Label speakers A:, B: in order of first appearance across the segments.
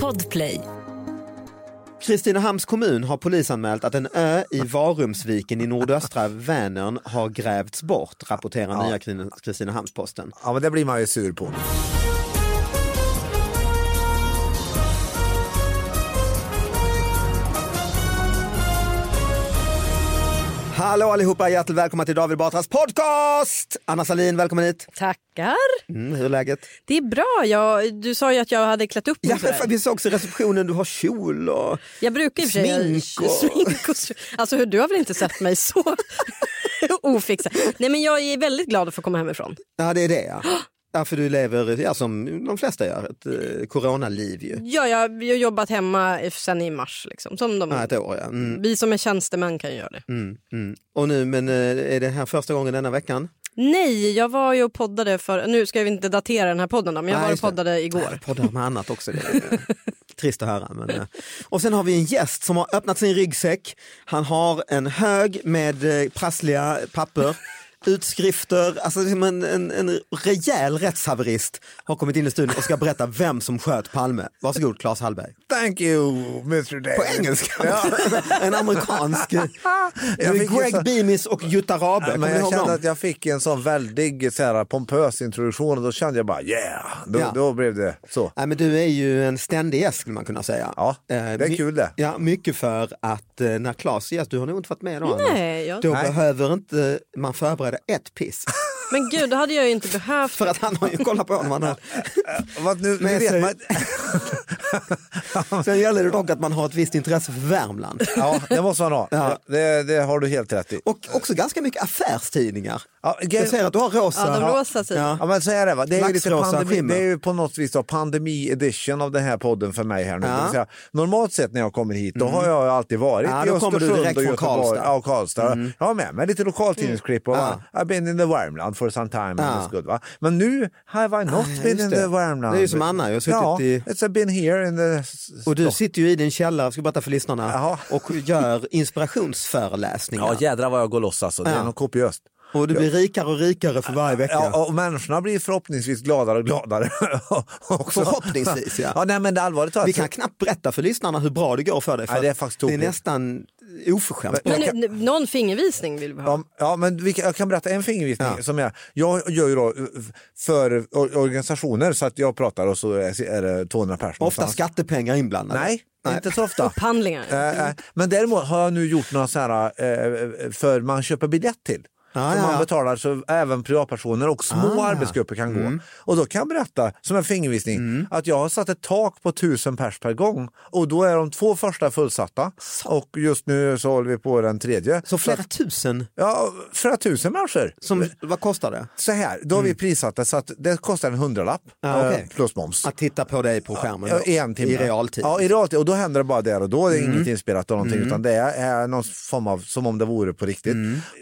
A: Podplay.
B: Kristinehamns kommun har polisanmält att en ö i Varumsviken i nordöstra Vänern har grävts bort, rapporterar nya Krin- Kristinehamns-Posten.
C: Ja, men det blir man ju sur på.
B: Hallå allihopa, hjärtligt välkomna till David Batras podcast! Anna Salin, välkommen hit.
A: Tackar.
B: Mm, hur är läget?
A: Det är bra. Jag, du sa ju att jag hade klätt upp mig.
B: Ja,
A: sådär.
B: vi såg också i receptionen, du har kjol och...
A: jag brukar i och för sig...
B: Smink och-
A: Smink och... Alltså, hur, du har väl inte sett mig så ofixad? Nej, men jag är väldigt glad att få komma hemifrån.
B: Ja, det är det ja. Ja, för du lever, ja, som de flesta gör, ett eh, coronaliv ju.
A: Ja, jag jag har jobbat hemma i- sen i mars. Liksom, som de,
B: Ja, ett år ja. Mm,
A: Vi som är tjänstemän kan ju göra det.
B: mm, mm. Och nu, men eh, är det här första gången denna veckan?
A: Nej, jag var ju och poddade för... Nu ska vi inte datera den här podden, då, men jag
B: Nej,
A: var och
B: just det.
A: poddade igår.
B: Jag poddar med annat också. Det är eh, trist att höra. Men, eh. och sen har vi en gäst som har öppnat sin ryggsäck. Han har en hög med eh, prassliga papper, utskrifter, alltså som en, en, en rejäl rättshaverist har kommit in i studion och ska berätta vem som sköt Palme. Varsågod Claes Hallberg.
C: Thank you, Mr David.
B: På engelska!
C: Ja.
B: en amerikansk.
C: Jag fick ju
B: Greg
C: så-
B: Beamis och Jutta Rabe,
C: Ja,
B: kommer
C: men
B: ni
C: jag
B: ihåg
C: kände
B: dem?
C: att jag fick en sån väldig så här, pompös introduktion och då kände jag bara yeah. Då,
B: Ja.
C: då blev det så.
B: Nej, men du är ju en ständig gäst skulle man kunna säga.
C: Ja, det
B: Eh,
C: är
B: my-
C: kul det.
B: Ja, mycket för att eh, när Claes är gäst, du har nog inte varit med då Anna.
A: Nej, jag...
B: Då
C: Nej.
B: behöver inte man förbereda ett piss.
A: Men gud, då hade jag ju inte behövt
B: För att han har ju kollat på honom. Han har.
C: Vad, nu, nu
B: Men så-
C: vet man,
B: Sen gäller det dock att man har ett visst intresse för Värmland.
C: ja, det måste man ha.
B: Ja.
C: Det, det har du helt rätt i.
B: Och också ganska mycket affärstidningar.
C: Ja, ge-
B: Jag ser att du har rosa.
A: Ja, de rosa sidorna.
C: Ja, men så är det, va? det, är ju lite
B: Laxrosa
C: pandemi,
B: skimmer.
C: det är ju på något vis då pandemi edition av den här podden för mig här nu.
B: Ja. Mm.
C: Det vill säga, normalt sett när jag kommer hit då har jag ju alltid varit
B: Ja,
C: i
B: då kommer du
C: Östersund
B: direkt
C: och
B: från
C: Göteborg.
B: Karlstad. Mm.
C: Ja, och Karlstad. Jag har med mig lite lokaltidningsklipp och va? I've been in the Värmland for some time. and
B: Ja.
C: it's Good, va? Men nu have I not
B: Ah,
C: been
B: just
C: in
B: det.
C: the Värmland.
B: Det är ju som Anna, jag har suttit
C: ja,
B: i-
C: It's been here in the...
B: Och du sitter ju i din källare, jag ska berätta för lyssnarna,
C: Jaha.
B: och gör inspirationsföreläsningar.
C: Ja jädrar vad jag går loss alltså, det
B: Ja.
C: är något kopiöst.
B: Och du blir rikare och rikare för varje vecka.
C: Ja, och människorna blir förhoppningsvis gladare och gladare. också.
B: Förhoppningsvis, ja.
C: ja nej, men det är allvarligt talat.
B: Vi kan knappt berätta för lyssnarna hur bra det går för dig. För
C: Nej, det är
B: att
C: faktiskt
B: det är
C: tokigt.
B: nästan oförskämt.
A: Men nu, nu- någon fingervisning vill vi ha.
C: Ja, ja, men vi kan, jag kan berätta en fingervisning.
B: Ja.
C: Som jag, jag gör ju då eh, för or- organisationer så att jag pratar och så är är det 200 personer.
B: Ofta skattepengar inblandade.
C: Nej, inte så ofta.
A: Upphandlingar.
C: Eh, eh, Men däremot har jag nu gjort några så här, eh, för man köper biljett till.
B: Ah,
C: som
B: ja,
C: man
B: ja. Ah.
C: betalar så även privatpersoner och små arbetsgrupper kan
B: Mm.
C: gå. Och då kan jag berätta som en fingervisning att jag har satt ett tak på tusen pers per gång och då är de två första fullsatta och just nu så håller vi på den tredje.
B: Så flera
C: att-
B: tusen,
C: Ja, flera tusen människor.
B: som, vad kostar det?
C: Så här, då har vi prissatt det så att det kostar en hundralapp
B: Ja,
C: eh,
B: Mm. Ah, okej.
C: plus moms.
B: Att titta på dig på skärmen
C: Ja,
B: då,
C: en timme.
B: i realtid. Mm.
C: Ja, i realtid. Och då händer det bara där och då.
B: Mm.
C: Det är inget inspelat av någonting utan det är, är någon form av, som om det vore på riktigt.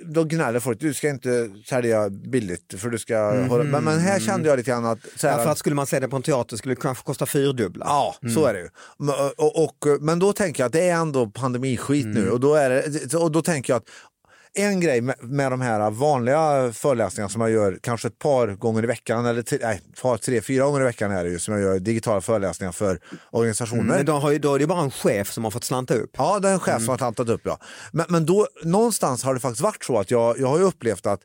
C: Då gnäller folk året, du ska inte sälja billigt för du ska
B: Mm.
C: hålla... Men, men här kände jag lite grann att... Så här,
B: Därför att skulle man se det på en teater skulle det kanske kosta fyrdubbla.
C: Ja, så är det ju. Men, Och, och, men då tänker jag att det är ändå pandemiskit
B: Mm.
C: nu och då, är det, och då tänker jag att en grej med, med de här vanliga föreläsningarna som jag gör kanske ett par gånger i veckan eller till, nej, ett par, tre, fyra gånger i veckan är det ju som jag gör digitala föreläsningar för organisationer.
B: Men då, har ju, då är det bara en chef som har fått slanta upp.
C: Ja, det är en chef som har tantat upp. Ja. Men, men då, någonstans har det faktiskt varit så att jag, jag har ju upplevt att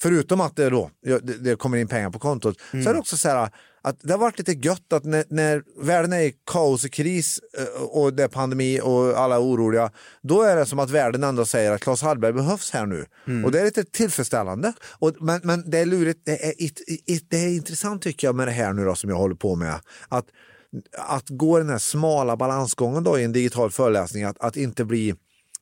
C: förutom att det, då, jag- det, det kommer in pengar på kontot så är det också så här att det har varit lite gött att när, när världen är i kaos och kris eh, och det är pandemi och alla är oroliga, då är det som att världen ändå säger att Claes Hallberg behövs här nu. Och det är lite tillfredsställande. Och, men, men det är lurigt, det är, it, it, det är intressant tycker jag med det här nu då som jag håller på med. Att att gå den här smala balansgången då i en digital föreläsning, att, att inte bli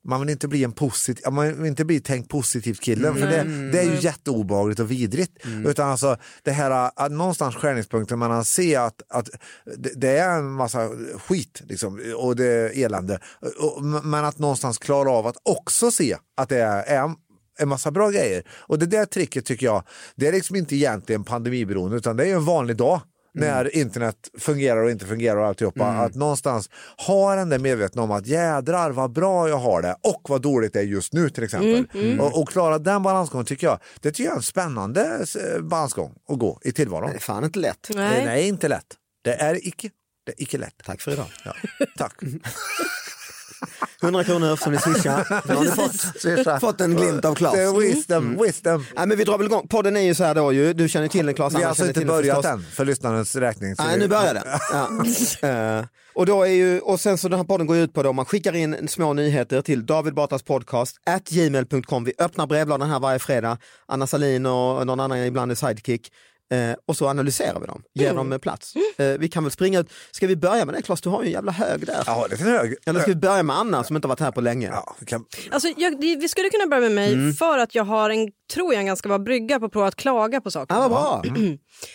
C: man vill inte bli en positiv, man vill inte bli tänk positivt killen för det, det är ju jätteobehagligt och vidrigt. Utan alltså det här att någonstans skärningspunkten mellan att se att, att det, det är en massa skit liksom, och det är elände. Och, men att någonstans klara av att också se att det är, är en massa bra grejer. Och det där tricket tycker jag, det är liksom inte egentligen pandemiberoende utan det är ju en vanlig dag
B: Mm.
C: när internet fungerar och inte fungerar och alltihopa. Att någonstans ha den där medvetna om att jädrar vad bra jag har det och vad dåligt det är just nu
B: Mm,
C: till exempel. Och, och klara den balansgången tycker jag, det tycker jag är en spännande eh, balansgång att gå i tillvaron.
B: Det är fan inte lätt.
C: Det är inte lätt. Det är icke, det är icke lätt. Tack för idag. Ja, tack.
B: 100 kronor som ni swishar. Nu har ni fått, fått en glimt av Claes.
C: Det är
B: Mm.
C: wisdom, wisdom.
B: Nej, men vi drar väl igång. Podden är ju så här då ju, du känner till den Claes.
C: Vi
B: Anna
C: har alltså
B: känner
C: inte
B: till den
C: börjat
B: förstås.
C: än för lyssnarens räkning. så
B: Nej,
C: vi-
B: nu börjar den. Ja. Eh, och, då är ju, och sen så den här podden går ju ut på då, man skickar in små nyheter till David Batras podcast at gmail.com. Vi öppnar brevlådan här varje fredag. Anna Salin och någon annan ibland är sidekick. Eh, och så analyserar vi dem, ger
C: Mm.
B: dem eh, plats. Eh, vi kan väl springa ut. Ska vi börja med det Claes? Du har ju en jävla hög där.
C: Ja, det är en hög.
B: Eller ska vi börja med Anna som inte har varit här på länge?
C: Ja, vi kan...
D: Alltså, jag, det- vi skulle kunna börja med mig
C: Mm.
D: för att jag har en, tror jag, en ganska bra brygga på att prova att klaga på saker.
B: Ja, vad bra.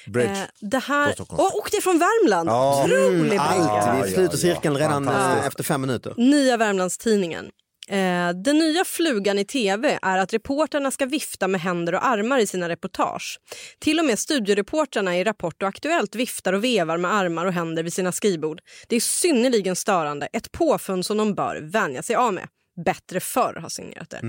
C: Bridge.
D: Eh, det här...
C: På Stockholm.
D: Åh, och det är från Värmland!
C: Ja.
D: Otrolig brygga!
B: Allt, vi sluter cirkeln redan eh,
D: Fantastiskt.
B: efter fem minuter.
D: Nya Värmlandstidningen. Eh, den nya flugan i tv är att reporterna ska vifta med händer och armar i sina reportage. Till och med studioreporterna i Rapport och Aktuellt viftar och vevar med armar och händer vid sina skrivbord. Det är synnerligen störande, ett påfund som de bör vänja sig av med. Bättre förr har signerat det.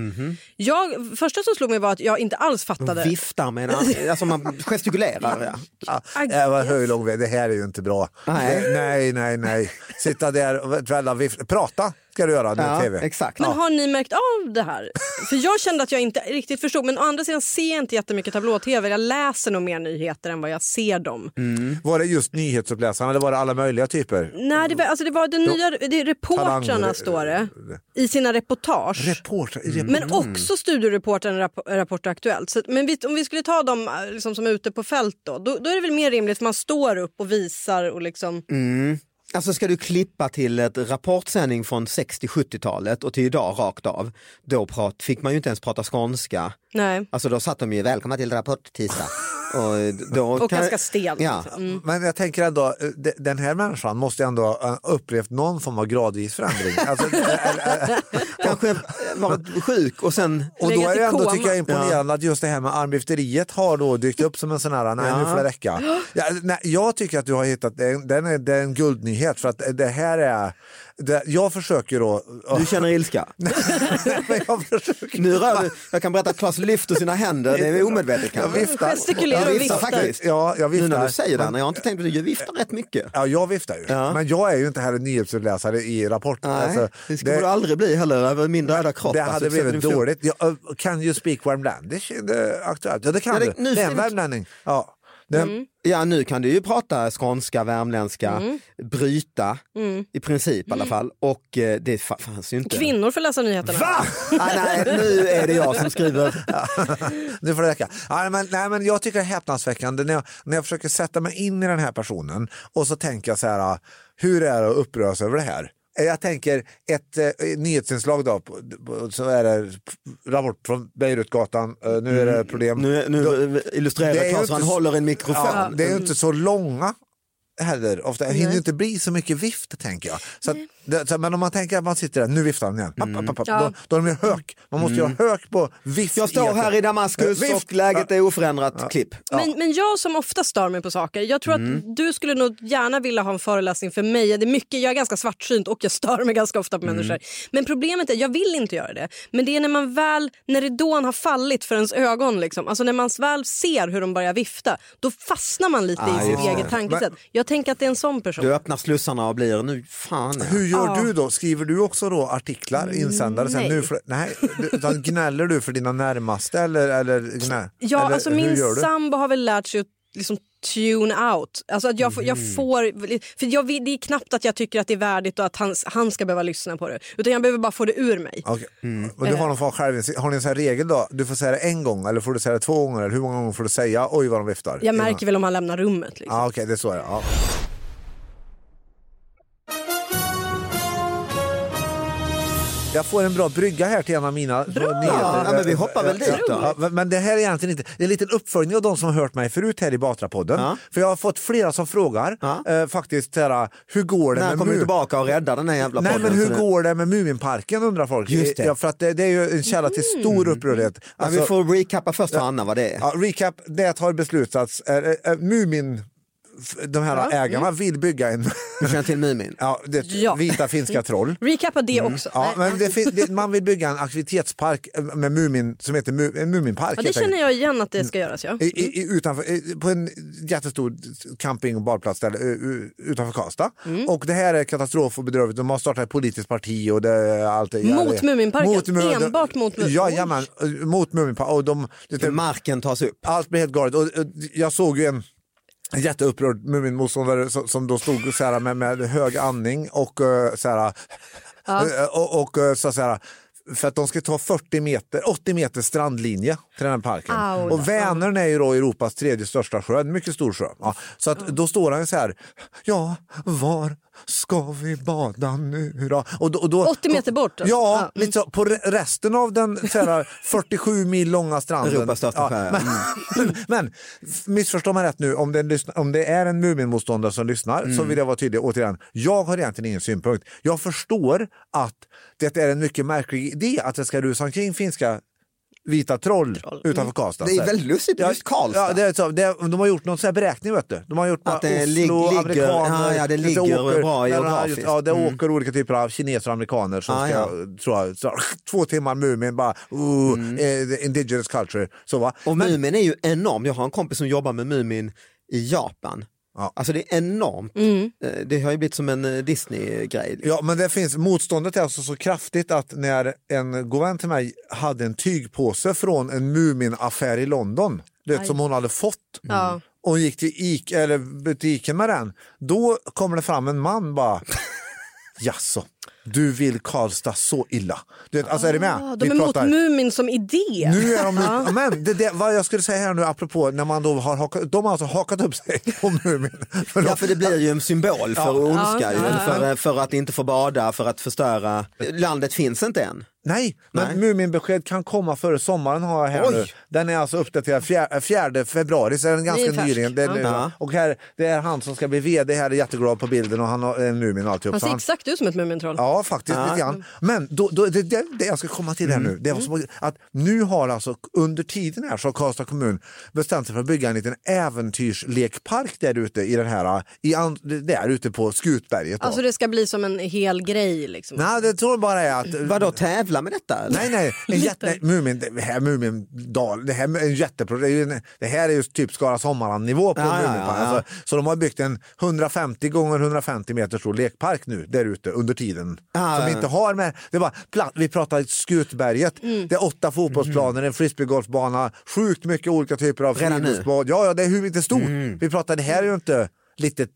D: Jag, första som slog mig var att jag inte alls fattade.
B: Viftar med en arm, alltså man gestikulerar. Ja.
C: Ja, det var hög lång väg. Det här är ju inte bra.
B: Nej.
C: Det- nej, nej, nej. Sitta där och välja vift. Prata ska du göra nu i
B: Ja,
C: tv.
B: exakt.
D: Men har ni märkt av det här? För jag kände att jag inte riktigt förstod. Men å andra sidan ser jag inte jättemycket tablå-tv. Jag läser nog mer nyheter än vad jag ser dem.
C: Mm.
B: Mm.
C: Var det just nyhetsuppläsarna eller var det alla möjliga typer?
D: Nej, det var, alltså det var den nya, det är
C: Talang-
D: reportrarna står det i sina reportage.
C: Reporter. Mm.
D: men också studioreportern Rapp- Rapport och Aktuellt. Så, att- men vi, om vi skulle ta dem eh, liksom, som är ute på fält då, då, då är det väl mer rimligt för man står upp och visar och liksom...
C: Mm.
B: Alltså ska du klippa till ett rapportsändning från 60-70-talet och till idag rakt av, då prat, fick man ju inte ens prata skånska.
D: Nej.
B: Alltså då satt de ju välkomna till Rapport tisdag. Och, då
D: Och ganska stelt.
B: Ja.
C: Mm.
D: Mm.
C: Men jag tänker ändå, eh, de- den här människan måste ändå ha upplevt någon form av gradvis förändring. Alltså,
B: Kanske varit sjuk och sen...
C: och då
D: Legat
C: är
D: i
C: det ändå
D: koma.
C: tycker jag imponerande att just det här med armlyfteriet har då dykt upp som en sån här, nej nu får det räcka. Ja, nej, jag tycker att du har hittat, den, den, är, det är en guldnyhet för att det här är, det, jag försöker då...
B: Du känner ilska?
C: Men jag försöker.
B: Nu rör du, jag kan berätta att Claes lyfter sina händer, det är omedvetet
C: Jag
B: kanske.
C: viftar.
D: Gestikulerar och
C: Jag
D: viftar.
B: faktiskt.
C: Ja, jag
B: Nu när
C: viftar.
B: du säger det, Anna, jag har inte tänkt på det, du viftar rätt mycket.
C: Ja, jag viftar ju.
B: Ja.
C: Men jag är ju inte heller nyhetsuppläsare i Rapport.
B: Nej,
C: Alltså,
B: det skulle du aldrig bli heller, över min döda kropp.
C: det
B: Alltså,
C: hade
B: du sätter
C: blivit
B: din fot.
C: dåligt. Jag, ö, kan ju speak Värmländish in the aktuellt? Ja, det kan
B: Ja, det-
C: du.
B: nu Mm.
C: Det är en
B: finns-
C: värmlänning. Ja. Det,
B: Ja, nu kan du ju prata skånska, värmländska,
D: Mm.
B: bryta i princip i alla fall. Och eh, det fa- fanns ju inte.
D: Kvinnor får läsa nyheterna.
B: Va? Ah, nej, nu är det jag som skriver.
C: Nu får det räcka. Nej, men, nej, men jag tycker det är häpnadsväckande när jag, när jag försöker sätta mig in i den här personen och så tänker jag så här, ah, hur är det att uppröras över det här? Eh, Jag tänker ett eh, nyhetsinslag då, på- på- så är det rapport från Beirutgatan, eh, nu är det problem.
B: Mm, Nu, nu illustrerar
C: Det är ju
B: Claes hur han
C: inte så-
B: håller en mikrofon.
C: Ja, det är ju inte så långa heller. Ofta det hinner ju inte bli så mycket vift tänker jag. Så att, det, så, men om man tänker att man sitter där, nu viftar han igen. Papp, papp, papp,
D: Ja.
C: då, då är de ju hök. Man måste ju ha hök på vift.
B: Mm. Jag står
C: att-
B: här i Damaskus
C: Eh,
B: och läget är oförändrat. Klipp.
D: Men, men jag som ofta stör mig på saker, jag tror att du skulle nog gärna vilja ha en föreläsning för mig. Det är mycket, jag är ganska svartsynt och jag stör mig ganska ofta på människor. Men problemet är, jag vill inte göra det. Men det är när man väl, när ridån har fallit för ens ögon, liksom. alltså när man väl ser hur de börjar vifta, då fastnar man lite
B: Ah,
D: i sitt eget tankesätt. Jag tänker att det är en sån person.
B: Du öppnar slussarna och blir nu fan. ja.
C: Hur gör du då? Skriver du också då artiklar, insändare? Sen
D: Mm, nej.
C: Nu för, nej. du- Utan gnäller du för dina närmaste eller, eller gnä?
D: Ja,
C: eller,
D: alltså
C: hur
D: min
C: gör du?
D: sambo har väl lärt sig att liksom tune out. Alltså att jag, får,
C: Mm.
D: jag får, för jag, vill- det är knappt att jag tycker att det är värdigt och att han, han ska behöva lyssna på det. Utan jag behöver bara få det ur mig.
C: Okej. Och
D: Eh.
C: du har, någon form av självinsikt. har ni en sån här regel då? Du får säga det en gång eller får du säga det två gånger? Eller hur många gånger får du säga oj vad de viftar?
D: Jag märker väl om han lämnar rummet. Liksom.
C: Ja, Okej, det är så det är. ja. Jag får en bra brygga här till en av mina bra.
B: Ja, men vi hoppar väl dit då.
C: Ja, men det här är egentligen inte, det är en liten uppföljning av de som har hört mig förut här i Batrapodden.
B: Ja.
C: För jag har fått flera som frågar
B: Ja.
C: eh, faktiskt så här, hur går det
B: När
C: med
B: kommer du
C: mu-
B: tillbaka och räddar den här jävla
C: Nej men
B: podden?
C: hur
B: Så det-
C: går det med Muminparken undrar folk.
B: Just det.
C: Ja, för att det, det är ju en källa till stor upprördhet.
B: Men
C: Alltså-
B: vi får recappa först för Anna vad det är.
C: Ja, recap, det har beslutats. Äh, Mumin, f- de här ägarna vill bygga en
B: Du känner till Mumin?
C: ja, det,
D: Ja.
C: vita finska troll.
D: Recappa det också.
C: Mm. Ja,
D: Nej.
C: men det, fin- det, man vill bygga en aktivitetspark eh, med Mumin, som heter Mu, en Muminpark.
D: ja, det
C: helt
D: känner
C: enkelt. Mm.
D: jag igen att det ska göras. Ja.
C: I, i, i- utanför, i, på en jättestor camping och badplats där, u- u- utanför Karlstad.
D: Mm.
C: Och det här är katastrof och bedrövligt. De har startat ett politiskt parti och det är allt. det-
D: Mot Muminparken?
C: Mumin-
D: Enbart mot Mumin-
C: Jajamän, eh, mot Muminparken. Och de,
B: Hur marken tas upp.
C: allt blev helt galet. Och, och, jag såg ju en en jätteupprörd Muminmotståndare som, som då stod så här med, med hög andning och eh, så här, eh, och, och eh, sa så här för att de ska ta 40 meter, 80 meter strandlinje till den här parken.
D: Au då.
C: Och Vänern är ju då Europas tredje största sjö, en mycket stor sjö. Ja, så
D: Mm.
C: att då står han ju så här, ja var ska vi bada nu då? Och då, och då
D: 80 meter bort, alltså.
C: Ja,
D: Ja,
B: Mm.
C: lite så, på re- resten av den så här, 47 mil långa stranden.
B: Europas största
C: Ja,
B: sjö, ja. Mm.
C: men- men, men missförstå mig rätt nu, om det, är en lyssna- om det är en Muminmotståndare som lyssnar så
B: Mm.
C: vill jag vara tydlig återigen. Jag har egentligen ingen synpunkt. Jag förstår att det är en mycket märklig idé att det ska rusa omkring finska vita troll, utanför Karlstad.
B: Mm. Det är väldigt lustigt, just Karlstad.
C: Ja, det är så, det, är- de har gjort någon sån här beräkning vet du. De har gjort
B: Att
C: bara
B: det lig-
C: Oslo,
B: ligger-
C: amerikaner.
B: ja, ja, det ligger bra
C: nej, nej,
B: geografiskt.
C: Ja, det åker olika typer av kineser och amerikaner som
B: Ja,
C: ska,
B: ja.
C: Tror jag, så, två timmar Mumin bara, ooh, eh, the indigenous culture. Så, va?
B: Mm. Och
C: Men-
B: Mumin är ju enorm. Jag har en kompis som jobbar med Mumin i Japan.
C: Ja.
B: Alltså det är enormt.
D: Mm.
B: Eh, Det har ju blivit som en eh, Disney-grej.
C: Ja, men det finns, motståndet är alltså så kraftigt att när en god vän till mig hade en tygpåse från en Mumin-affär i London, du vet, som hon hade fått,
D: Ja.
C: och hon gick till Ica, eller butiken med den, då kommer det fram en man bara, jaså, du vill Karlstad så illa? Du vet, alltså är du med?
D: Ah,
C: Vi
D: de är mot
C: pratar-
D: Mumin som idé.
C: nu är de mot, men det, det, vad jag skulle säga här nu apropå när man då har hakat, de har alltså hakat upp sig på Mumin. För de-
B: Ja, för det blir ju en symbol för ondska, ju,
D: Ja, ja,
B: För, eh, för att inte få bada, för att förstöra. Landet finns inte än.
C: Nej,
B: Nej.
C: men Muminbesked kan komma före sommaren har jag här
B: Oj.
C: nu. Den är alltså uppdaterad fjär- 4 februari, så är den
D: Det
C: ganska
D: är färsk.
C: nyligen. Det är, nu,
B: Ja.
C: va? Och här, det är han som ska bli vd här, är jätteglad på bilden och han har en Mumin och alltihop.
D: Han
C: så
D: ser exakt ut som ett Mumintroll.
C: Ja, faktiskt lite grann. Men då, då, det, det, det jag ska komma till
B: Mm.
C: här nu, det var som, att nu har alltså under tiden här så har Karlstad kommun bestämt sig för att bygga en liten äventyrslekpark där ute i den här, i, an- där ute på Skutberget. Då.
D: Alltså det ska bli som en hel grej. Liksom.
C: Nej, det tror jag bara är att
B: Vadå, tävla med detta? Eller?
C: Nej, nej, en jätte, nej, Mumin, det här Mumindal, det här är en jättepro, det, är ju en, det här är ju typ Skara Sommarland-nivå på
B: Ja, ja,
C: Muminpark.
B: ja, ja.
C: Alltså, så de har byggt en 150 gånger 150 meter stor lekpark nu där ute under tiden.
B: Ja,
C: som
B: ja, ja.
C: inte har med, det är bara platt, vi pratar Skutberget,
B: Mm.
C: det är åtta fotbollsplaner, en frisbeegolfbana, sjukt mycket olika typer av
B: Redan nu? Mm.
C: friluftsbad. Ja, ja, det är hur inte stort. Vi pratar, det här är ju inte litet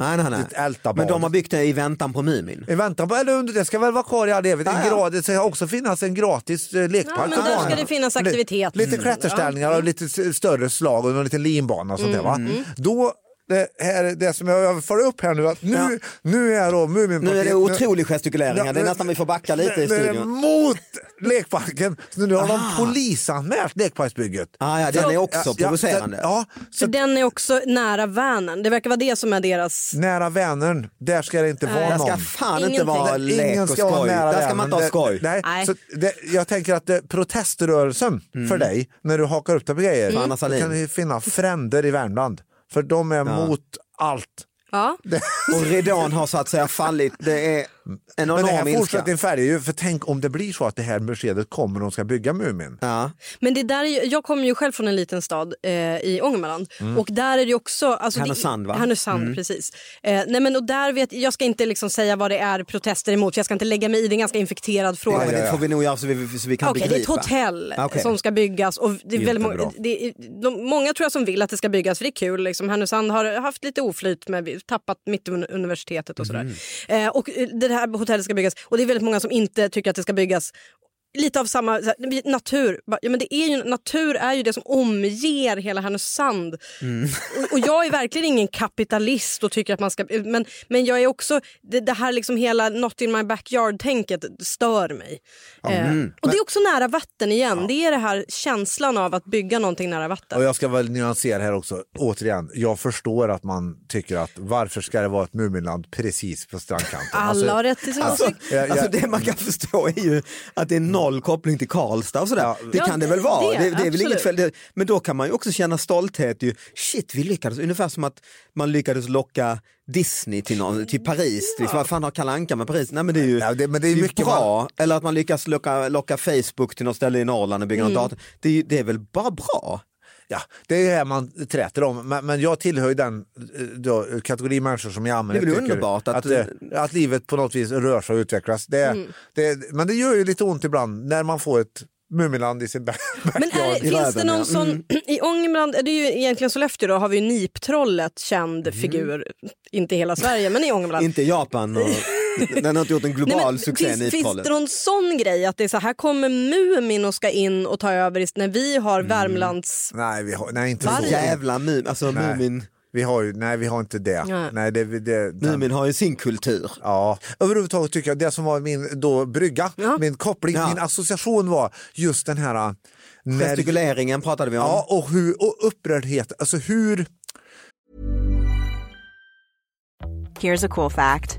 B: Nej, nej,
C: Ett ältabad.
B: Men de har byggt det i väntan på Mumin.
C: i väntan på, eller under, det ska väl vara kvar i all evighet.
B: Ja,
C: En
B: ja.
C: grad, det ska också finnas en gratis eh, lekpark.
D: Ja, men
C: för
D: där
C: barnen.
D: ska det finnas
C: Li-
D: aktivitet.
C: Lite
D: Mm.
C: klätterställningar och lite s- större slag och en liten linbana och sånt där. Va?
D: Mm.
C: Då, det, här, är det som jag- jag för upp här nu, att nu,
B: Ja.
C: nu är då
B: Nu
C: Muminpartiet...
B: är det otrolig gestikulering,
C: Ja,
B: här. det är
C: nu-
B: nästan vi får backa lite
C: nu-
B: i
C: nu är det
B: studion.
C: Mot lekparken. Så nu har de polisanmält lekparksbygget.
B: Ah, ja, den är också
C: ja,
B: provocerande.
C: Ja, så
D: För den är också nära Vänern. Det verkar vara det som är deras...
C: nära Vänern, där ska det inte vara
B: Där
C: någon.
B: Ah. ska fan inte
D: Ingenting.
B: vara
C: Där
B: lek och
C: vara
B: skoj. Där ska
C: den,
B: man inte
C: men
B: ha
C: det-
B: skoj.
C: Nej.
D: Nej.
C: Så det, jag tänker att det, proteströrelsen för dig, när du hakar upp dig på grejer,
B: Anna
C: då
B: Sahlin.
C: kan du finna fränder i Värmland. För de är mot allt.
D: Ja.
B: Och ridån har så att säga fallit. Det är en
C: Men det här
B: enorm ilska.
C: fortsättningen färgar ju, för tänk om det blir så att det här beskedet kommer när de ska bygga Mumin.
B: Ja.
D: Men det där är ju, jag kommer ju själv från en liten stad eh, i Ångermanland och där är det ju också... Alltså,
B: Mm. Härnösand,
D: det,
B: va? Mm.
D: Härnösand, precis. Eh, nej, men, och där vet, jag ska inte liksom säga vad det är protester emot, för jag ska inte lägga mig i, det är en ganska infekterad fråga.
B: Ja, men det får vi nog göra så vi, så vi kan
D: Okej, det är ett
B: begripa. Ah,
D: hotell
B: Okej.
D: som ska byggas. Och det är väldigt många,
C: Jättebra.
D: det är, de, många tror jag som vill att det ska byggas för det är kul. Liksom. Härnösand har haft lite oflyt med vi har tappat Mittuniversitetet och sådär.
B: Mm.
D: Eh, och eh, det här hotellet ska byggas och det är väldigt många som inte tycker att det ska byggas. Lite av samma, så här, natur. Bara, Ja, men det är ju, natur är ju det som omger hela Härnösand. Och, och jag är verkligen ingen kapitalist och tycker att man ska... Men, men jag är också... Det, det här liksom hela not in my backyard-tänket stör mig. Eh, och det är också nära vatten igen. Det är det här känslan av att bygga någonting nära vatten.
C: Och jag ska väl nyansera här också, återigen, jag förstår att man tycker att varför ska det vara ett Muminland precis på strandkanten?
D: Alla har rätt till sin
B: Alltså,
D: åsikt.
C: Ja, ja.
B: alltså det man kan förstå är ju att det är noll koppling till Karlstad och sådär. Det
D: Ja,
B: kan det
D: det-
B: väl vara,
D: det,
B: det, det är väl inget
D: absolut.
B: fel. Det- Men då kan man ju också känna stolthet. Ju. Shit, vi lyckades. Ungefär som att man lyckades locka Disney till, någon, till Paris. Liksom, vad fan har Kalle Anka med Paris? Nej men det är ju
C: Ja, det- men det är
B: ju
C: mycket
B: bra. Eller att man lyckas locka, locka Facebook till något ställe i Norrland och bygga
D: Mm.
B: någon dator. Det är, ju- det är väl bara bra?
C: Ja, det är det här man träter om. Men, men jag tillhör ju den eh, då, kategori människor som i
B: Det
C: allmänhet
B: är väl
C: tycker
B: underbart att- Mm.
C: att, eh, att livet på något vis rör sig och utvecklas. Det, det, men det gör ju lite ont ibland när man får ett Mumiland i Mm. sin back-
D: Men är,
C: backyard.
D: det- finns det någon sån... I Ångermanland, det är ju egentligen Sollefteå, då har vi ju niptrollet, känd figur. Inte i hela Sverige, men i Ångermanland.
B: Inte Japan och den har inte gjort en
D: Nej, men
B: global succé
D: finns, finns
B: Niptrollet.
D: det någon sån grej att det är så här kommer Mumin och ska in och ta över ist- när vi har
B: Mm.
D: Värmlands...
C: Nej, vi har, nej, inte
B: Så
C: så.
B: Jävla mum, alltså
C: Nej.
B: Mumin,
C: Vi har ju, nej, vi har inte det.
D: Nej.
C: Nej, det, det den-
B: Mumin har ju sin kultur.
C: Ja, överhuvudtaget tycker jag det som var min då brygga, min koppling,
B: Ja.
C: min association var just den här när,
B: Gestikuleringen pratade vi om.
C: ja, och, hur, och upprördhet, alltså hur
E: Here's a cool fact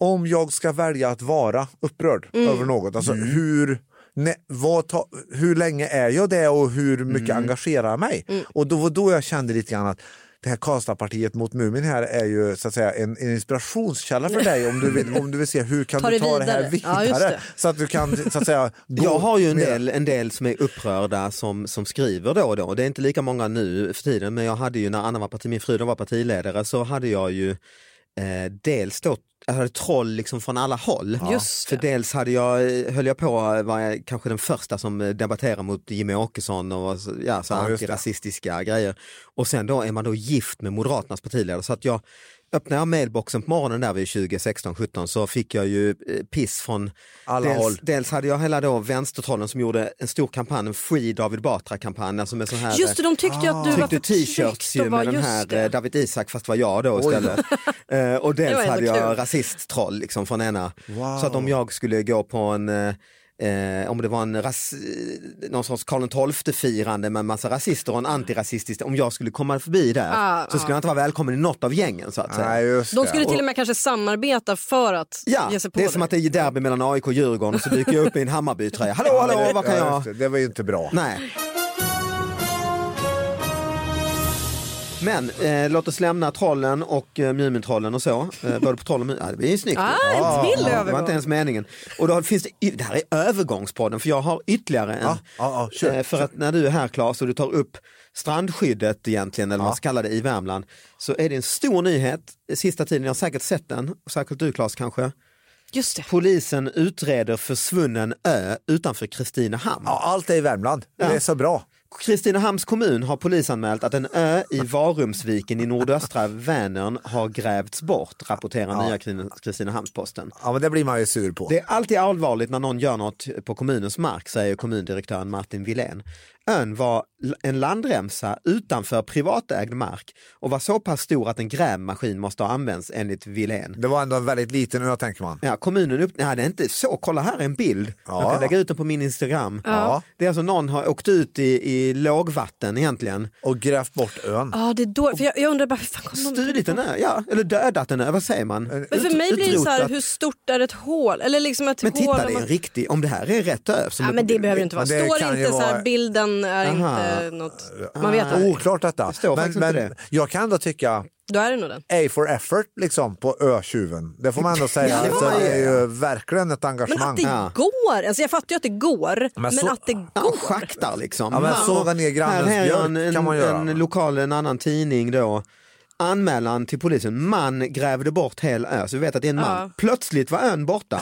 C: om jag ska välja att vara upprörd
D: Mm.
C: över något, alltså
B: Mm.
C: hur, ne, vad ta, hur länge är jag det och hur mycket
B: Mm.
C: engagerar mig?
D: Mm.
C: Och då var då jag kände lite grann att det här Karlstadpartiet mot Mumin här är ju så att säga en, en inspirationskälla för dig om du vill, om du vill se hur kan
D: Ta
C: du
D: det
C: ta det här
D: vidare. Ja,
C: vidare
D: just det.
C: så att du kan så att säga gå
B: Jag har ju en
C: mer.
B: del, en del som är upprörda som, som skriver då och då. Det är inte lika många nu för tiden men jag hade ju när Anna var parti, min fru då var partiledare så hade jag ju eh, dels då jag hade troll liksom från alla håll.
D: Just
B: För dels hade jag, eh, höll jag på, var jag kanske den första som debatterade mot Jimmy Åkesson och var så- ja, så
C: Ja, just det.
B: antirasistiska grejer. Och sen då är man då gift med Moderaternas partiledare så att jag öppnade jag mailboxen på morgonen där vid 2016-17 så fick jag ju eh, piss från
C: Alla
B: dels,
C: håll.
B: dels hade jag hela då vänstertrollen som gjorde en stor kampanj, en Free David Batra-kampanj. Alltså med sån här, eh,
D: Just det, de tyckte ju att du var
B: tryckte t-shirts
D: förtryckt.
B: ju
D: och var
B: med den
D: just
B: här
D: det.
B: eh, David Isak fast var jag då istället. Eh, och
D: Det var
B: dels
D: ändå
B: hade jag
D: kul.
B: rasisttroll liksom från ena. Så att om jag skulle gå på en eh, eh, om det var en ras, eh, någon sorts Karl XII-firande med en massa rasister och en antirasistisk, om jag skulle komma förbi där
D: Ah,
B: så skulle jag inte vara välkommen i något av gängen så att säga.
C: Nej, just
D: De
C: det.
D: skulle till och med kanske samarbeta för att
B: Ja,
D: ge sig på
B: det är som att det är derby mellan AIK och Djurgården och så dyker jag upp i en Hammarby-tröja. Hallå,
C: Ja,
B: hallå,
C: det-
B: vad kan
C: ja,
B: jag?
C: just Det, det var ju inte bra.
B: Nej. Men eh, låt oss lämna trollen och eh, Mumintrollen och så. Eh, både på troll och Mumin. Ja, det blir ju snyggt.
D: Ah, en
B: Ja,
D: till
B: Det
D: övergång.
B: var inte ens meningen. Och då finns det, y- det här är övergångspodden för jag har ytterligare en.
C: Ja, ja, ja, kör,
B: Eh, för
C: kör.
B: att när du är här Claes och du tar upp strandskyddet egentligen, eller vad man ska kalla det i Värmland, så är det en stor nyhet sista tiden. Jag har säkert sett den, och särskilt du Claes kanske.
D: Just det.
B: Polisen utreder försvunnen ö utanför Kristinehamn.
C: Ja, allt är i Värmland. Det är så bra.
B: Kristinehamns kommun har polisanmält att en ö i Varumsviken i nordöstra Vänern har grävts bort, rapporterar nya Krin- Kristinehamns-Posten.
C: Ja, men det blir man ju sur på.
B: Det är alltid allvarligt när någon gör något på kommunens mark, säger kommundirektören Martin Wilén. Ön var l- en landremsa utanför privatägd mark och var så pass stor att en grävmaskin måste ha använts enligt Wilén.
C: Det var ändå en väldigt liten ö tänker man.
B: Ja, kommunen upp... Nej, det är inte så. Kolla här är en bild. Jag kan lägga ut den på min Instagram.
C: Ja.
B: Det är alltså någon har åkt ut i, i lågvatten egentligen.
C: Och grävt bort ön.
B: Ah,
D: Ja, det är då, för jag, jag undrar bara, hur fan kom de
B: Stulit den ö, ja. Eller dödat den ö, vad säger man?
D: Men för
B: Ut-
D: mig blir det så här,
B: utrotat.
D: hur stort är ett hål? Eller liksom ett
B: Men
D: hål
B: titta,
D: om
B: det är en
D: man...
B: riktig, om det här är rätt ö. som
D: Ja,
B: är-
D: men det behöver ju inte vara.
C: Men det
D: Står
C: kan ju
D: inte så här,
C: vara-
D: bilden är
B: Aha. Ah.
D: inte något. Man vet
C: Nej.
D: inte.
C: Alltså, Oklart detta.
B: Det står
C: men
B: faktiskt inte
C: men
B: det.
C: jag kan ändå tycka
D: Då är det nog den.
C: A for effort liksom på ötjuven. Det får man ändå säga.
B: Ja, det får
C: Så
B: man
C: det är
B: göra.
C: ju verkligen ett
D: Men
C: engagemang.
D: att det går! Alltså jag fattar ju att det går, men,
C: så-
D: att det går.
B: Ja, schaktar liksom.
C: Ja, men
B: Här-
C: såga ner grannens
B: här är en,
C: björk
B: en,
C: kan man göra.
B: En lokal, en annan tidning då. Anmälan till polisen, man grävde bort hel ö, så vi vet att det är en man.
D: Ja.
B: Plötsligt var ön borta.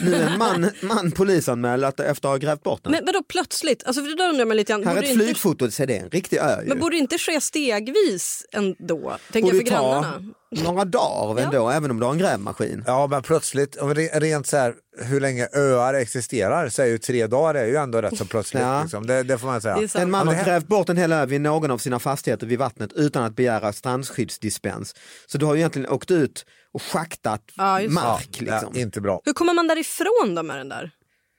B: Nu är en man, man polisanmäld att- efter att ha grävt bort den.
D: Men vadå plötsligt? Alltså för det där undrar man lite grann.
B: Här är
D: Borde
B: ett
D: inte-
B: flygfoto, se det är en riktig ö ju.
D: Men borde det inte ske stegvis ändå? Tänker
B: Borde
D: jag för
B: ta
D: grannarna.
B: några dagar ändå, även om du har en grävmaskin.
C: Ja men plötsligt, om re- rent så här hur länge öar existerar så är ju tre dagar är ju ändå rätt så plötsligt.
B: Ja.
C: Liksom. Det, det får man säga.
D: Det är sant.
B: En man
C: Ja,
B: har
C: det här-
B: grävt bort en hel ö vid någon av sina fastigheter vid vattnet utan att begära strandskyddsdispens. Så du har ju egentligen åkt ut och schaktat
D: Ja, just det.
B: mark.
C: Ja,
B: Liksom.
C: inte bra.
D: Hur kommer man därifrån då med den där?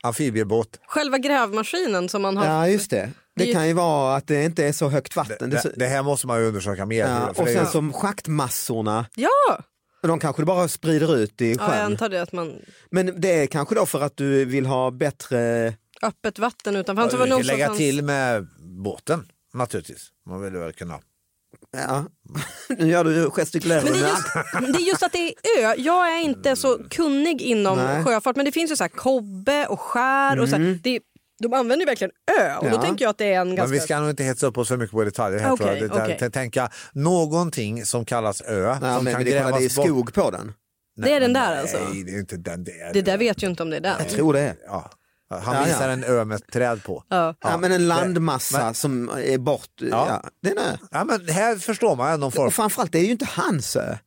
C: Amfibiebåt.
D: Själva grävmaskinen som man har.
B: Ja, just det.
D: Det är
B: Det
D: ju-
B: kan ju vara att det inte är så högt vatten. Det, är så-
C: Det, det här måste man ju undersöka mer.
B: ja,
C: för
B: och
C: det är
B: sen
C: ju-
B: som schaktmassorna,
D: Ja.
B: de kanske bara sprider ut i
D: ja, jag
B: sjön.
D: antar det att man
B: Men det är kanske då för att du vill ha bättre...
D: öppet vatten utanför. Han
C: Ja,
D: ja,
C: vi
D: var
C: kan
D: nog
C: lägga
D: lägga
C: till med båten naturligtvis. Man vill väl kunna.
B: Ja. nu gör du gestikulerar.
D: Men det är, just, det är just att det är ö. Jag är inte så kunnig inom
B: Nej. Mm.
D: sjöfart men det finns ju så här kobbe och skär. Och så här, det är, de använder ju verkligen ö och då
B: Ja.
D: tänker jag att det är en
C: Men vi
D: ganska...
C: ska nog inte hetsa upp oss för mycket på detaljer här tror jag.
D: Okej,
C: Det där-
D: okej.
C: t- Tänka någonting som kallas ö
B: Ja,
C: som
B: men,
C: kan
B: men det, kolla, det är
C: grävas bort.
B: skog på den.
D: Det är den där alltså?
C: Nej, det är inte den. Det är,
D: Det där vet ju inte om det är den.
B: Jag tror det. Är.
C: ja. Han
B: Ja, ja.
C: visar en ö med ett träd på.
D: Ja.
B: Ja, men en landmassa som är bort. Ja. det är en ö.
C: Ja, men här förstår man någon form.
B: Och framförallt, det är ju inte hans ö.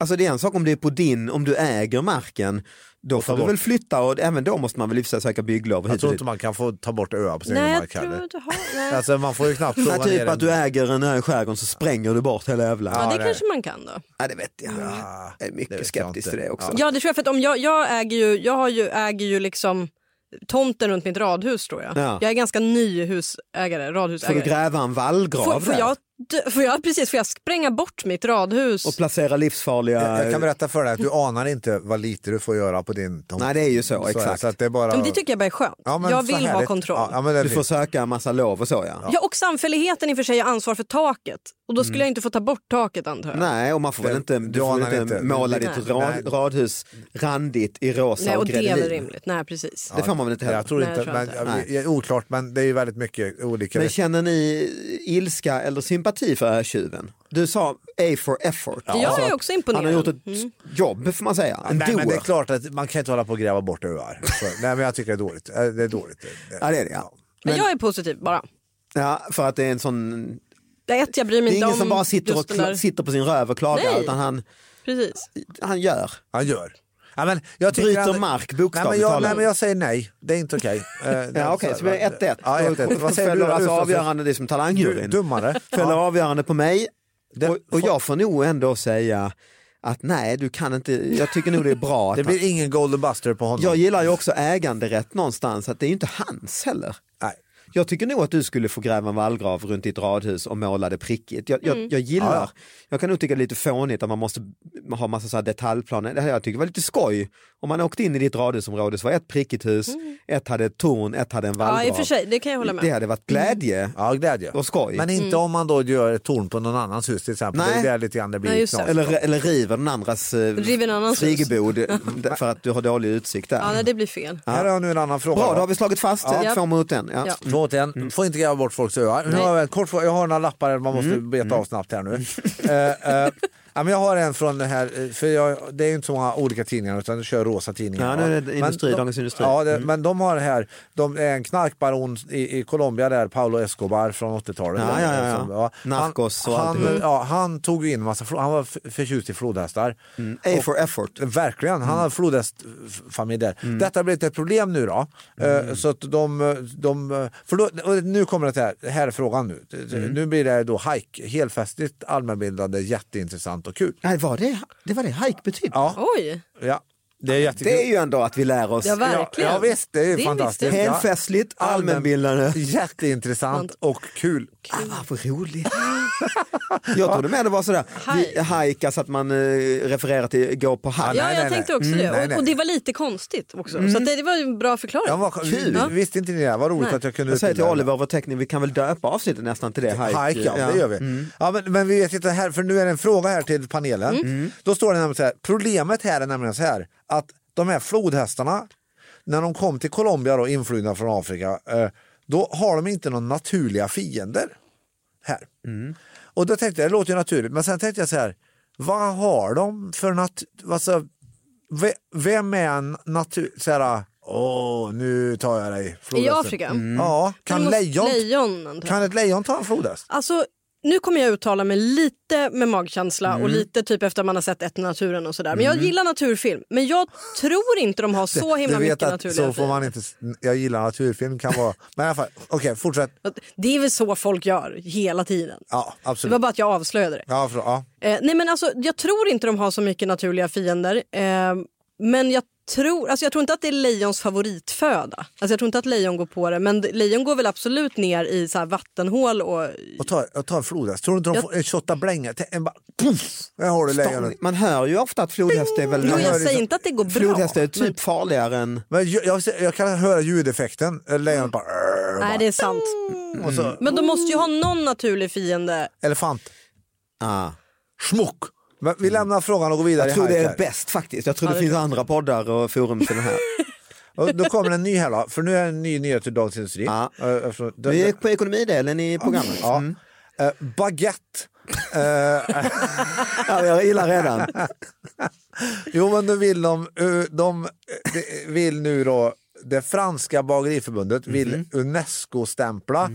B: Alltså det är en sak om det är på din, om du äger marken, då får du
C: bort.
B: väl flytta och även då måste man väl i och för sig söka bygglov. och
C: Jag
B: hit och
C: tror
B: dit.
C: inte man kan få ta bort öar på sin egen
D: Nej, jag
C: mark
D: tror
C: heller.
D: du har... Nej.
C: Alltså, man får ju knappt
B: Nej,
C: såga ner
B: typ
C: en-
B: att du äger en ö i skärgården så spränger du bort hela jävla...
D: Ja,
B: Ja.
D: det
C: det-
D: kanske man kan då.
B: Nej, det vet jag. Jag är
C: det
B: mycket
C: vet
B: skeptisk
C: jag inte.
B: till det också.
D: Ja, det tror jag. För att om jag, jag äger ju, jag har ju, äger ju liksom tomten runt mitt radhus tror jag.
B: Ja.
D: Jag är ganska ny husägare,
B: Får du
D: radhusägare.
B: gräva en vallgrav
D: får, får,
B: där
D: jag, dö- får jag, precis, får jag spränga bort mitt radhus?
B: och placera livsfarliga...
C: Jag jag kan berätta för dig att du anar inte vad lite du får göra på din tomt.
B: Nej, det är ju så, exakt.
C: Så att det är bara...
D: Men det tycker jag bara är skönt.
C: Ja, men
D: jag
C: så
D: vill ha
C: härligt.
D: kontroll.
C: Ja,
D: Ja,
C: ja, men det är
B: Du får
C: fint.
B: söka en massa lov och så ja.
D: och samfälligheten i och för sig har ansvar för taket. Och då skulle jag inte få ta bort taket antar jag.
B: Mm. Nej, och man får väl
C: Det-
B: inte, du
C: du
B: får väl
C: anar
B: inte,
C: inte.
B: måla
C: Nej.
B: ditt rad,
C: Nej.
B: radhus randigt i rosa
D: Nej, och
B: och
D: det är väl
B: gredelin.
D: rimligt. Nej, precis.
B: Det får man väl inte heller.
C: Jag tror
D: Nej,
C: inte,
D: jag tror
C: men,
D: inte.
C: jag- jag- oklart, men det är ju väldigt mycket olika.
B: Men känner ni ilska eller sympati för ötjuven? Du sa A for effort. Alltså,
D: jag är också imponerad. Mm.
B: Han har gjort ett jobb får man säga, en
C: Nej, men det är
B: doer.
C: klart att man kan inte hålla på och gräva bort öar. Så, Alltså, nej, men jag tycker det är dåligt. Eh, Det är dåligt.
B: Ja, det är det, ja.
D: Men, jag är positiv bara.
B: ja, för att det är en sån...
D: Det är ett, jag bryr mig
B: Det är
D: inte
B: ingen
D: om
B: som bara sitter, och
D: just den
B: kla-
D: där.
B: sitter på sin röv och klagar
D: Nej.
B: utan han,
D: Precis.
B: han gör.
C: Han gör. Ja, men jag tycker
B: Bryter
C: att-
B: mark,
C: nej,
B: bokstavligt
C: men jag,
B: talat.
C: nej, men jag säger nej. Det är inte okej. Eh, det-
B: Ja, Okej, så det är 1-1.
C: Ja, 1-1. Vad säger du?
B: Fäller alltså
C: Rufus?
B: avgörande det är som talangjuryn.
C: Du- Dummare.
B: Fäller
C: Ja.
B: avgörande på mig
C: Det-
B: och, och jag får nog ändå säga att nej, du kan inte, jag tycker nog det är bra. Att
C: Det blir ingen Golden Buster på honom.
B: Jag gillar ju också äganderätt någonstans, att det är ju inte hans heller.
C: Nej.
B: Jag tycker nog att du skulle få gräva en vallgrav runt ditt radhus och måla det prickigt. Jag,
D: Mm.
B: jag, jag gillar,
C: Ja,
B: jag kan nog tycka det är lite fånigt att man måste ha massa så här detaljplaner. Det här jag tycker var lite skoj. Om man åkte in i ditt radhusområde så var ett prickigt hus, ett hade ett torn, ett hade en
D: Mm. Ja,
B: vallgrav.
D: i och för sig, det kan jag hålla med. Mm.
B: Det hade varit glädje.
C: Ja, glädje.
B: Och skoj.
C: Men inte om man då gör ett torn på någon annans hus till exempel.
B: Nej.
C: Det är där lite grann det blir
D: Nej, just det.
C: knas.
B: Eller, eller river den andras eh,
D: River en annans hus.
B: friggebod för att du har dålig utsikt där.
D: Ja, nej, det blir fel.
C: Här har jag nu en annan fråga.
B: Bra,
C: va?
B: då har vi slagit fast
D: Ja.
B: ja. två mot en. Ja. Mm.
D: Ja.
C: Två till en. Får inte gräva bort folks öar. Nu har jag, en kort fråga. jag har några lappar man måste
B: Mm.
C: beta av snabbt här nu. Eh, eh, ja, men jag har en från den här, eh, för jag, det är ju inte så många olika tidningar utan jag kör rosa tidningar.
B: Ja, nu är det Industri,
C: Men de-
B: Dagens Industri. Mm.
C: Ja, det, men de har här, de är en knarkbaron i, i Colombia där, Paolo Escobar från 80-talet.
B: Ja, ja, ja, ja.
C: Som-
B: Narcos och
C: han,
B: allt
C: han, ja, han tog ju in massa, flo- han var f- förtjust i flodhästar.
B: A for effort.
C: Verkligen, han har flodhästfamilj där. Detta har blivit ett problem nu då. Eh, Så att de, eh, de eh, för då, och nu kommer det här, här är frågan nu. Nu blir det då hajk, helfestligt, allmänbildande, jätteintressant och kul.
B: Nej, var det, det var det hajk betyder.
C: Ja,
D: Oj!
C: ja det är jättekul.
B: Det är ju ändå att vi lär oss.
D: Ja, verkligen.
C: Ja, ja, visst, det är ju
D: visste
C: fantastiskt.
D: jag.
B: Helfestligt,
C: Ja.
B: allmänbildande.
C: Jätteintressant och kul.
B: Ah, vad roligt. Jag trodde med det var sådär, vi hajka så att man eh, refererar till gå på hajk.
D: Ja,
C: nej,
D: jag
C: nej,
D: tänkte
C: nej.
D: också
C: Mm,
D: det.
C: nej, nej.
D: Och, och det var lite konstigt också. Så att det, det var ju en bra förklaring.
C: Jag var,
D: Ja.
C: Visste inte ni det? här? Vad roligt
D: Nej.
C: att jag kunde
B: Jag säger till
C: utbilda er.
B: Oliver, vår tekniker, vi kan väl döpa avsnittet nästan till det.
C: Hike, ja, det gör vi. Ja, men, men vi vet inte här, för nu är det en fråga här till panelen. Mm. Då står det nämligen så här, problemet här är nämligen så här att de här flodhästarna, när de kom till Colombia då, influgna från Afrika, eh, då har de inte några naturliga fiender här. Och då tänkte jag, det låter ju naturligt, men sen tänkte jag så här, vad har de för nat... Alltså, ve- vem är en natur... Så här, åh, nu tar jag dig.
D: I
C: flodhästen."
D: Afrika.
B: Mm.
C: Ja,
D: Det
C: Mm. kan
D: måste-
C: lejon,
D: lejon antar jag.
C: kan ett lejon ta en flodhäst?
D: Alltså, nu kommer jag uttala mig lite med magkänsla
C: Mm.
D: och lite typ efter man har sett ett naturen och sådär. Men jag gillar naturfilm. Men jag tror inte de har så himla
C: du vet
D: mycket
C: att
D: naturliga
C: så får
D: fiender.
C: man inte, jag gillar naturfilm kan vara, men i alla fall, okej fortsätt.
D: Det är väl så folk gör hela tiden.
C: Ja,
D: Det
C: absolut.
D: var bara att jag avslöjade det.
C: Ja, för, ja.
D: Eh, nej men alltså, jag tror inte de har så mycket naturliga fiender. Eh, men jag tror, alltså jag tror inte att det är lejons favoritföda. Alltså jag tror inte att lejon går på det. Men d- lejon går väl absolut ner i så här vattenhål och...
C: Och ta, och ta en flodhäst, tror du inte de
D: Jag-
C: får en tjottabläng? En bara, puff, jag har du lejonet.
B: Man hör ju ofta att flodhäst är väl...
D: Jo,
C: hör
D: jag
C: det
D: säger
C: som-
D: inte att det går bra.
B: Flodhäst är typ farligare än...
C: Men jag, jag, jag kan höra ljudeffekten, lejonet bara, och
D: Mm. Nej,
C: bara
D: det är sant.
C: och så,
D: Men de måste ju ha någon naturlig fiende.
C: elefant,
B: Ah.
C: smuck. Men vi lämnar frågan och går vidare.
B: Mm. Jag tror
C: i
B: det är
C: hajkar.
B: bäst faktiskt. Jag tror det finns andra poddar och forum till den här.
C: Och då kommer en ny här då, för nu är det en ny nyhet ur Dagens Industri.
B: Ja.
C: Eh, eftersom-
B: Vi är på ekonomidelen i programmet.
C: ja. Eh, baguette. Eh,
B: Ja, jag gillar redan.
C: Jo, men nu vill de, eh, de eh, de vill nu då, det franska bageriförbundet vill
B: Mhm.
C: UNESCO-stämpla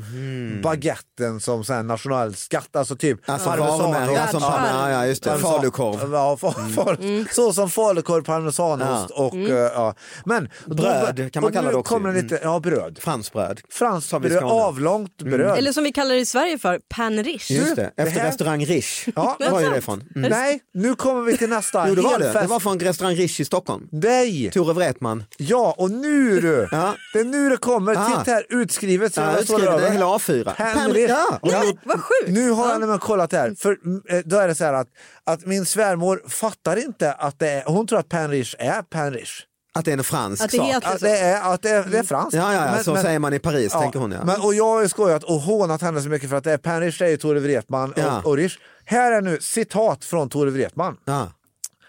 C: baguetten som så här nationell skatt, alltså typ
B: Alltså
C: parmesan-
B: varumärken, alltså
C: Ja,
B: parmesan, ja just det,
C: parmesan-
B: falukorv. Mm.
C: Ja, fa, fa, Så som falukorv, parmesanost och eh, ja. Men,
B: Bröd, kan man
C: och
B: kalla
C: nu
B: det också.
C: Kommer det lite, ja, bröd.
B: Fransbröd.
C: Franskt
B: Som i
C: bröd,
B: Skåne.
C: avlångt
B: Mm.
C: bröd.
D: Eller som vi kallar det i Sverige för, panrish.
B: Just det,
C: det
B: efter
C: här-
B: restaurang Rish.
C: Ja,
B: det var ju det från. Mm.
C: Nej, nu kommer vi till nästa.
B: Jo det var det, det
C: Helfest.
B: var från restaurang Rish i Stockholm.
C: Mm. Nej!
B: Tore Wretman.
C: Ja, och nu du!
B: Ja.
C: Det är nu det kommer.
B: Ah.
C: Titta här, utskrivet. så
B: Ja,
C: jag
B: utskrivet.
C: står
B: Det är
C: över.
B: hela A4.
C: Henry.
B: Pen- ja.
C: Och
D: Nej,
C: nu-
D: men vad sjukt.
C: Nu har
D: Ja.
C: jag nämligen kollat här. För, mm, eh, då är det så här att, att min svärmor fattar inte att det är, hon tror att Panrish är Panrish.
B: Att det är en fransk
D: Att det
B: sak.
D: heter-
C: Att det är, att det är, det är franskt.
B: Ja, ja, ja, så säger man i Paris, tänker hon, ja.
C: Men, och jag har ju skojat och hånat henne så mycket för att det är Panrish, det är ju Tore Wretman
B: Ja.
C: och, och Rish. Här är nu citat från Tore Wretman.
B: Ja.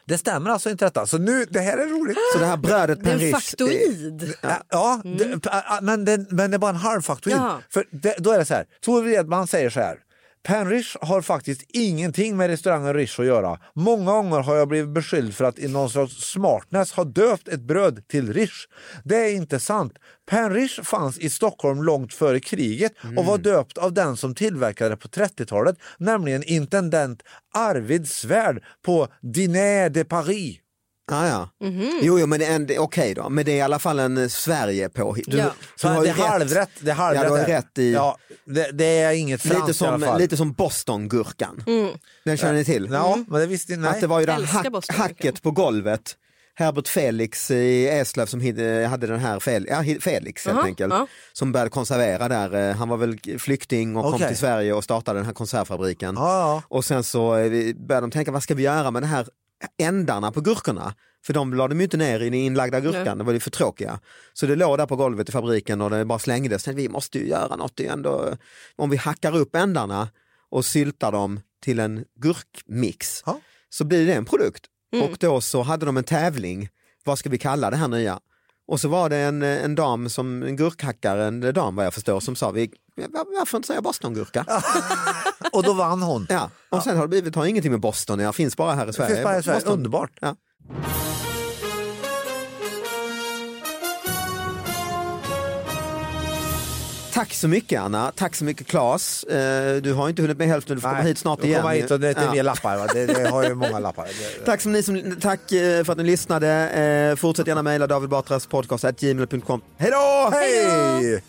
C: Det stämmer alltså inte detta. Så nu, det här är roligt.
B: Så det här brödet eh,
D: Det
B: pen
D: är en
B: Rish.
D: faktoid.
C: Ja, ja det, p- a- men, den, men det är bara en halv faktoid.
D: Jaha.
C: För det, då är det så här, Tor Wredman säger så här. Panrish har faktiskt ingenting med restaurangen Rish att göra. Många gånger har jag blivit beskylld för att i någon slags smartness ha döpt ett bröd till Rish. Det är inte sant. Panrish fanns i Stockholm långt före kriget och var döpt av den som tillverkade det på 30-talet, nämligen intendent Arvid Svärd på Diner de Paris.
B: Ah, ja.
D: Mhm.
B: Jo, jo, men det är en- det är okej då, men det är i alla fall en eh, Sverige på
D: Ja.
B: Så du har
C: det
B: ju
C: är halvrätt. Det är halvrätt.
B: Ja, du har
C: där.
B: rätt i,
C: Ja, det, det är inget franskt
B: lite,
C: i alla
B: som,
C: fall.
B: lite som Boston-gurkan.
D: Mm.
B: Den känner ni till? Mm.
C: Ja, men det visste
B: Att
C: nej.
B: det var ju det
D: Älskar
B: hack,
D: Boston-gurkan.
B: hacket på golvet. Herbert Felix i Eslöv som hid- hade den här Fel, ja, hi- Felix helt
D: Aha,
B: enkelt.
D: ja.
B: Som började konservera där. Eh, Han var väl flykting och kom
C: Okej.
B: till Sverige och startade den här konservfabriken.
C: Ja,
B: Och sen så eh, vi- började de tänka, vad ska vi göra med de här ändarna på gurkorna? För de la de ju inte ner i den inlagda gurkan,
D: Nej.
B: det var ju för tråkiga. Så det låg där på golvet i fabriken och det bara slängdes. Tänkte, vi måste ju göra något igen då. Om vi hackar upp ändarna och syltar dem till en gurkmix
C: Ja.
B: så blir det en produkt. Och då så hade de en tävling, vad ska vi kalla det här nya? Och så var det en, eh, en dam, som, en gurkhackare, en dam vad jag förstår, som sa, vi, var- varför inte säga bostongurka?
C: ja. Och då vann hon.
B: Ja, och sen har det blivit, har ingenting med Boston jag finns bara här i Sverige.
C: Finns bara i Sverige.
B: Boston.
C: Underbart.
B: Ja. Tack så mycket Anna, tack så mycket Claes. Eh, Du har inte hunnit med hälften, du får
C: Nej,
B: komma hit snart
C: jag får
B: igen.
C: Komma hit och det är
B: Ja.
C: mer lappar. Va? Det, det har ju många lappar. Det-
B: Tack, som ni som, tack eh, för att ni lyssnade. Eh, Fortsätt gärna mejla David Batras podcast at gmail.com. Hej då!
C: Hej!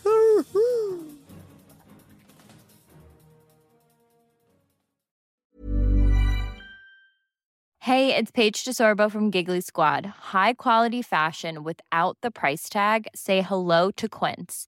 F: Hey, it's Paige DeSorbo from Giggly Squad. High quality fashion without the price tag. Say hello to Quince.